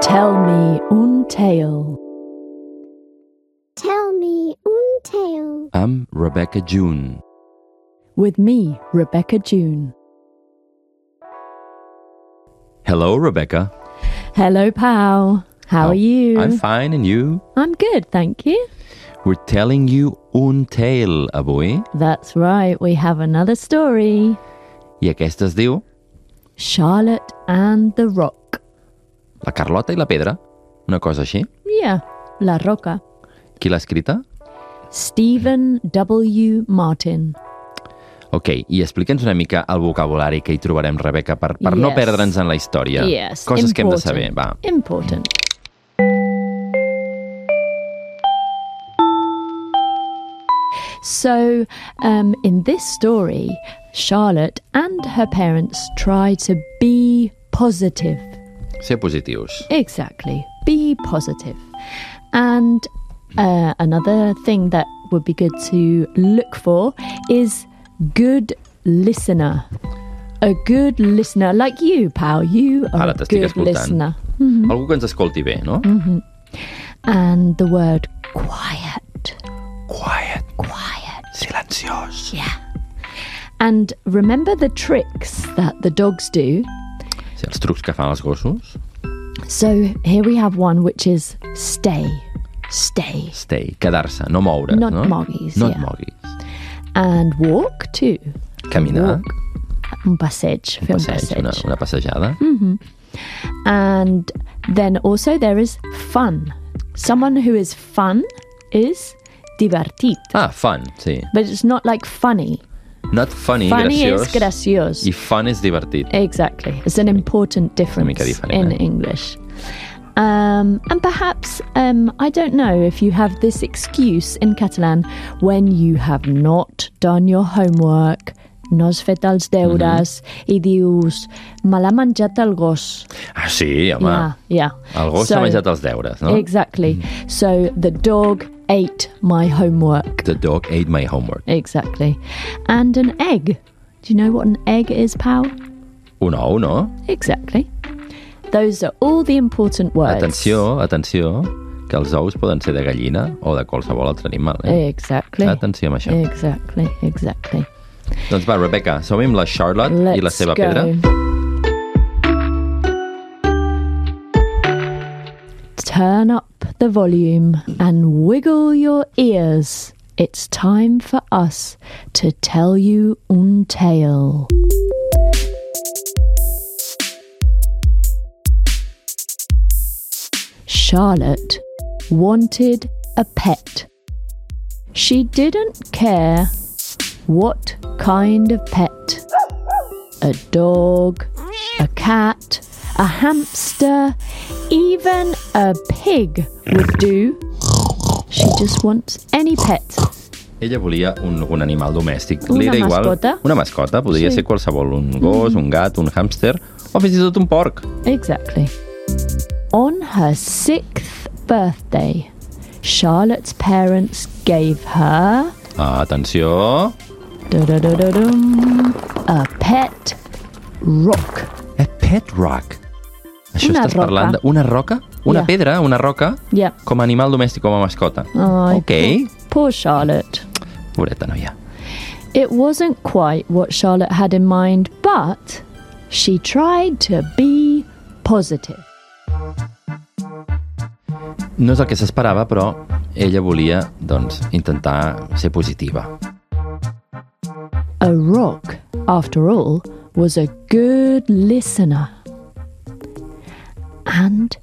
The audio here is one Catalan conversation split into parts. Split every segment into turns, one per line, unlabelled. Tell me un tale.
Tell me un tale.
I'm Rebecca June.
With me, Rebecca June.
Hello, Rebecca.
Hello, pal. How are you?
I'm fine, and you?
I'm good, thank you.
We're telling you un tale avui,
That's right, we have another story
i aquesta es diu
Charlotte and the Rock.
La Carlota i la Pedra, una cosa així.
Yeah, La Roca.
Qui l'ha escrita?
Stephen W. Martin.
Ok, i explica'ns una mica el vocabulari que hi trobarem, Rebecca, per, per no
Yes.
perdre'ns en la història.
Yes.
Coses que hem de
important.
saber, va.
Important. So, um, in this story, Charlotte and her parents try to be positive.
Ser positius.
Exactly. Be positive. And uh, another thing that would be good to look for is good listener. A good listener, like you, pal. You are
Ara
a
t'estic
good
escoltant.
listener.
Algú que ens escolti bé, no?
Mm-hmm. And the word quiet.
Quiet.
Quiet.
Silenciós.
Yeah. And remember the tricks that the dogs do.
Sí, els trucs que fan els gossos.
So here we have one which is stay. Stay.
Stay, quedar-se, no moure.
No et
no?
moguis,
No et
ja.
moguis.
And walk too.
Caminar.
Walk. Un passeig. Fer un
Passeig,
passeig. Mm.
una, una passejada.
And then also there is fun. Someone who is fun is divertit.
Ah, fun, sí.
But it's not like funny.
Not funny,
funny
graciós.
is graciós.
I fun és divertit.
Exactly. It's an important difference
mica diferent,
in
eh?
English. Um, and perhaps, um, I don't know if you have this excuse in Catalan when you have not done your homework, no has fet els
Mm-hmm.
deures i dius, me l'ha menjat el gos.
Ah, sí, home.
Yeah, yeah.
El gos s'ha menjat els deures, no?
Exactly. So the dog ate my homework.
The dog ate my homework.
Exactly. And an egg. Do you know what an egg is, pal?
Un ou, no?
Exactly. Those are all the important words.
Atenció, atenció, que els ous poden ser de gallina o de qualsevol altre animal. Eh?
Exactly.
Atenció amb
Eh.
això.
Exactly, exactly.
Doncs va, Rebecca, som amb la Charlotte
Let's
i la seva
go.
pedra.
Turn up the volume and wiggle your ears. It's time for us to tell you un tale. Charlotte wanted a pet. She didn't care what kind of pet a dog, a cat, a hamster, even a pig would do. She just wants any pet.
Ella volia un, un animal domèstic.
Una
Li era igual,
mascota?
Una mascota,
Sí.
podria
Mm.
ser qualsevol, un gos, un gat, un hàmster o fins i tot un porc.
Exactly. On her sixth birthday, Charlotte's parents gave her
Atenció!
da-da-da-da-dum, a pet rock.
A Eh, pet rock. Això
Una
estàs
roca.
parlant d'una roca? Una
Ja.
pedra, una roca,
Yeah.
com a animal domèstic, com a mascota.
Ay,
ok,
poor- poor Charlotte.
pobreta noia.
It wasn't quite what Charlotte had in mind, but she tried to be positive.
No és el que s'esperava, però ella volia, doncs, intentar ser positiva.
A rock, after all, was a good listener and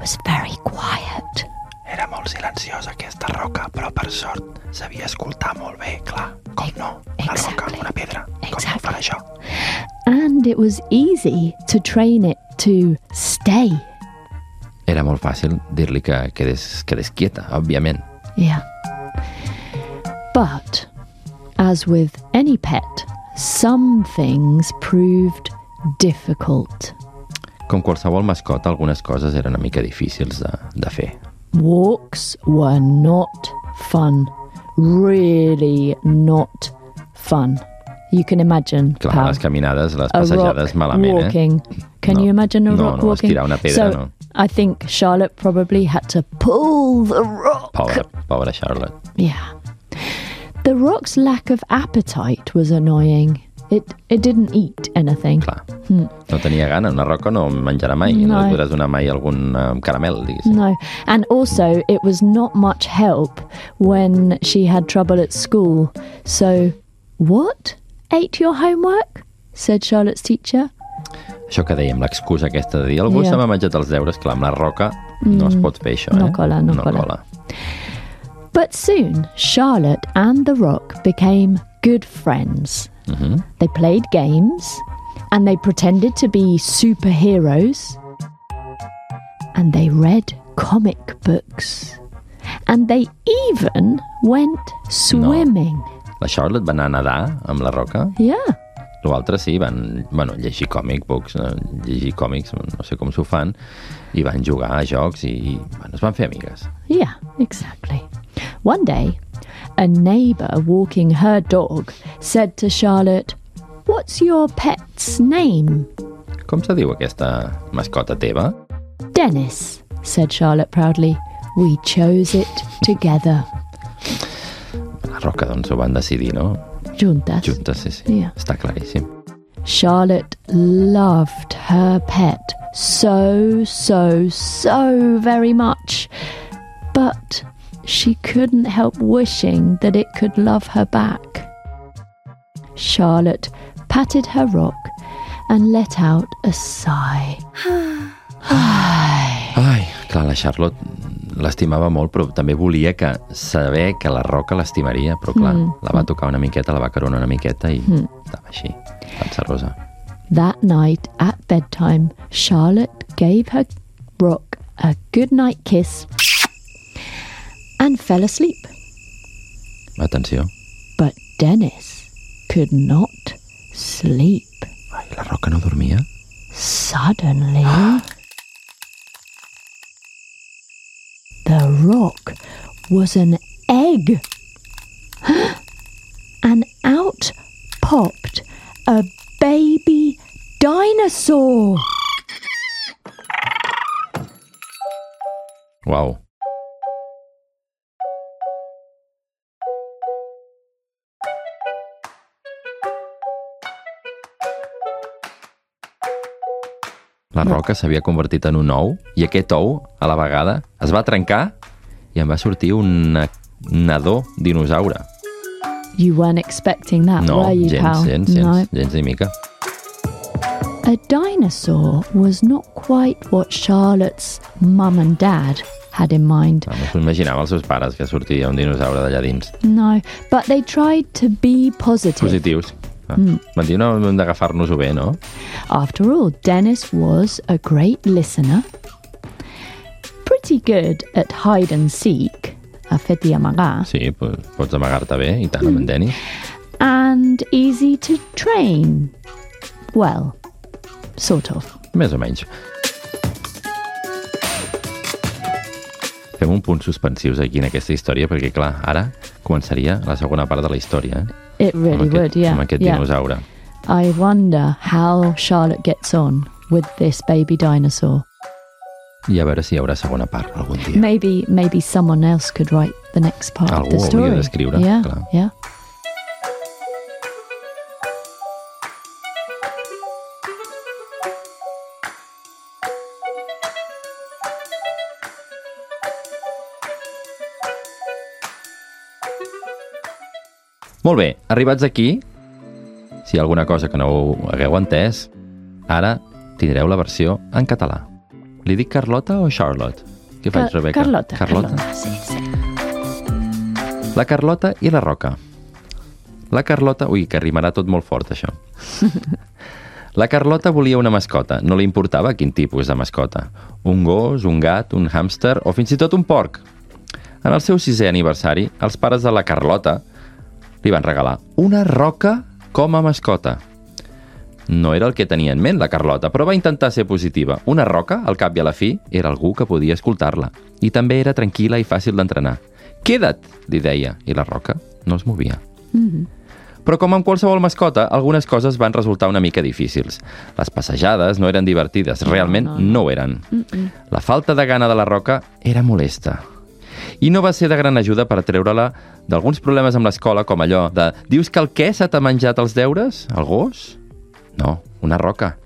was very quiet.
Era molt silenciosa aquesta roca, però per sort sabia escoltar molt bé, clar. Com no?
Exactly.
pedra.
Exactly.
això?
And it was easy to train it to stay.
Era molt fàcil dir-li que quedés, quedés quieta, òbviament.
Yeah. But, as with any pet, some things proved difficult.
Com qualsevol mascota, algunes coses eren una mica difícils de, de fer.
Walks were not fun. Really not fun. You can imagine.
Clar,
pal.
les caminades, les
a
passejades,
rock
malament, eh?
walking. Can
No.
you imagine a
No,
rock
no,
walking?
estirar una
so
pedra, no.
I think Charlotte probably had to pull the rock.
Pobra, pobra Charlotte.
Yeah. The rock's lack of appetite was annoying. It it didn't eat anything.
Clar. No tenia gana, una roca no menjarà mai. No,
No. eh.
no li podràs donar mai algun eh, caramel, diguéssim.
No. And also, it was not much help when she had trouble at school. So, what? Ate your homework? said Charlotte's teacher.
Això que dèiem, l'excusa aquesta de dir algú
Ja. Mm.
se m'ha menjat els deures, clar, amb la roca no es pot fer això, eh?
No cola, no cola. But soon, Charlotte and The Rock became good friends. They played games and they pretended to be superheroes and they read comic books and they even went swimming.
La Charlotte va anar a nedar amb la roca.
Yeah.
L'altre sí, van bueno, llegir còmic books, eh, llegir còmics, no sé com s'ho fan, i van jugar a jocs i, i bueno, es van fer amigues.
Yeah, exactly. One day, a neighbour walking her dog said to Charlotte, What's your pet's name?
Com se diu aquesta mascota teva?
Dennis, said Charlotte proudly. We chose it together.
La Roca, doncs, ho van decidir, no?
Juntas.
Juntes, sí, sí.
Ja.
Està claríssim.
Charlotte loved her pet so, so, so very much. But she couldn't help wishing that it could love her back. Charlotte patted her rock and let out a sigh.
Ai, clar, la Charlotte l'estimava molt, però també volia que saber que la Roca l'estimaria, però clar, mm. la va tocar una miqueta, la va caronar una miqueta i mm. estava així, cancerosa.
That night at bedtime, Charlotte gave her rock a goodnight kiss and fell asleep.
Atenció.
But Dennis could not sleep.
Ai, la Roca no dormia?
Suddenly, the rock was an egg. and out popped a baby dinosaur.
Uau. La roca s'havia convertit en un ou i aquest ou, a la vegada, es va trencar i en va sortir un nadó dinosaure.
You weren't expecting that,
No,
were you,
gens,
pal?
gens, gens, gens ni mica.
A dinosaur was not quite what Charlotte's mum and dad had in mind.
No s'ho imaginava els seus pares que sortia un dinosaure d'allà dins.
No, but they tried to be positive.
Positius. Ah. Van dir, no, hem d'agafar-nos-ho bé, no?
After all, Dennis was a great listener, pretty good at hide and seek, a fet i amagar,
Sí, po- pots amagar-te bé, i tant, amb en Dennis.
and easy to train. Well, sort of.
Més o menys. Fem un punt suspensius aquí en aquesta història, perquè, clar, ara començaria la segona part de la història, eh?
It really
amb aquest,
would, yeah.
amb aquest
yeah.
dinosaure.
I wonder how Charlotte gets on with this baby dinosaur.
I a veure si hi haurà segona part algun dia.
Maybe maybe someone else could write the next part of the
Algú hauria
story.
d'escriure,
yeah,
clar.
yeah.
Molt bé, arribats aquí, si hi ha alguna cosa que no ho hagueu entès, ara tindreu la versió en català. Li dic Carlota o Charlotte? Què faig,
Car-
Rebeca?
Carlota.
Carlota.
Ah, Sí, sí.
La Carlota i la Roca. La Carlota... Ui, que rimarà tot molt fort, això. La Carlota volia una mascota. No li importava quin tipus de mascota. Un gos, un gat, un hàmster o fins i tot un porc. En el seu sisè aniversari, els pares de la Carlota li van regalar una roca com a mascota. No era el que tenia en ment la Carlota, però va intentar ser positiva. Una roca, al cap i a la fi, era algú que podia escoltar-la. I també era
Mm-hmm.
tranquil·la i fàcil d'entrenar. Queda't, li deia, i la roca no es movia. Però com amb qualsevol mascota, algunes coses van resultar una mica difícils. Les passejades no eren divertides, realment
no,
no, ho eren. La falta de gana de la Roca era molesta. I no va ser de gran ajuda per treure-la d'alguns problemes amb l'escola, com allò de «Dius que el què se t'ha menjat els deures? El gos?» No, una roca.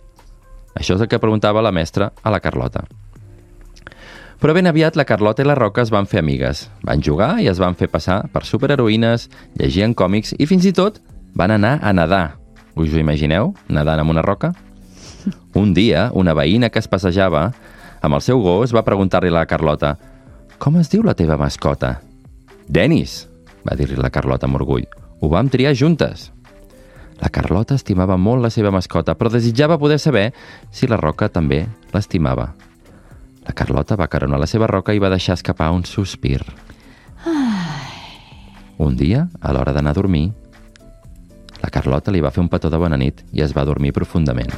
Això és el que preguntava la mestra a la Carlota. Però ben aviat la Carlota i la Roca es van fer amigues. Van jugar i es van fer passar per superheroïnes, llegien còmics i fins i tot van anar a nedar. Us ho imagineu? Nedant amb una roca? Un dia, una veïna que es passejava amb el seu gos va preguntar-li a la Carlota «Com es diu la teva mascota?» «Denis», va dir-li la Carlota amb orgull. «Ho vam triar juntes». La Carlota estimava molt la seva mascota, però desitjava poder saber si la Roca també l'estimava. La Carlota va caronar la seva roca i va deixar escapar un sospir. Un dia, a l'hora d'anar a dormir, la Carlota li va fer un petó de bona nit i es va dormir profundament.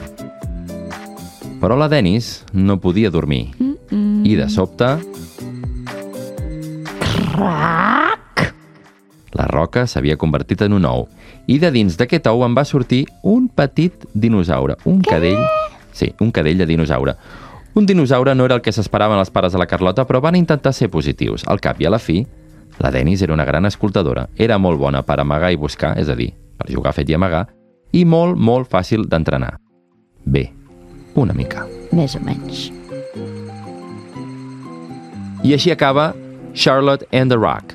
Però la Denis no podia dormir. Mm -mm. I de sobte...
Crac!
La roca s'havia convertit en un ou i de dins d'aquest ou en va sortir un petit dinosaure, un Què? cadell... Sí, un cadell de dinosaure. Un dinosaure no era el que s'esperaven els pares de la Carlota, però van intentar ser positius. Al cap i a la fi, la Denis era una gran escoltadora. Era molt bona per amagar i buscar, és a dir, per jugar fet i amagar, i molt, molt fàcil d'entrenar. Bé, una mica.
Més o menys.
I així acaba Charlotte and the Rock.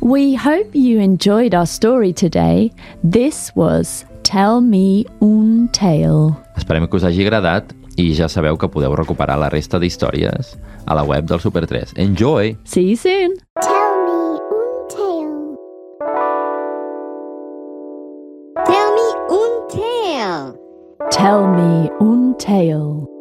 We hope you enjoyed our story today. This was Tell Me Un Tale.
Esperem que us hagi agradat i ja sabeu que podeu recuperar la resta d'històries a la web del Super 3. Enjoy!
See you soon!
Tell me un tale. Tell me un tale.
Tell Me Un Tale.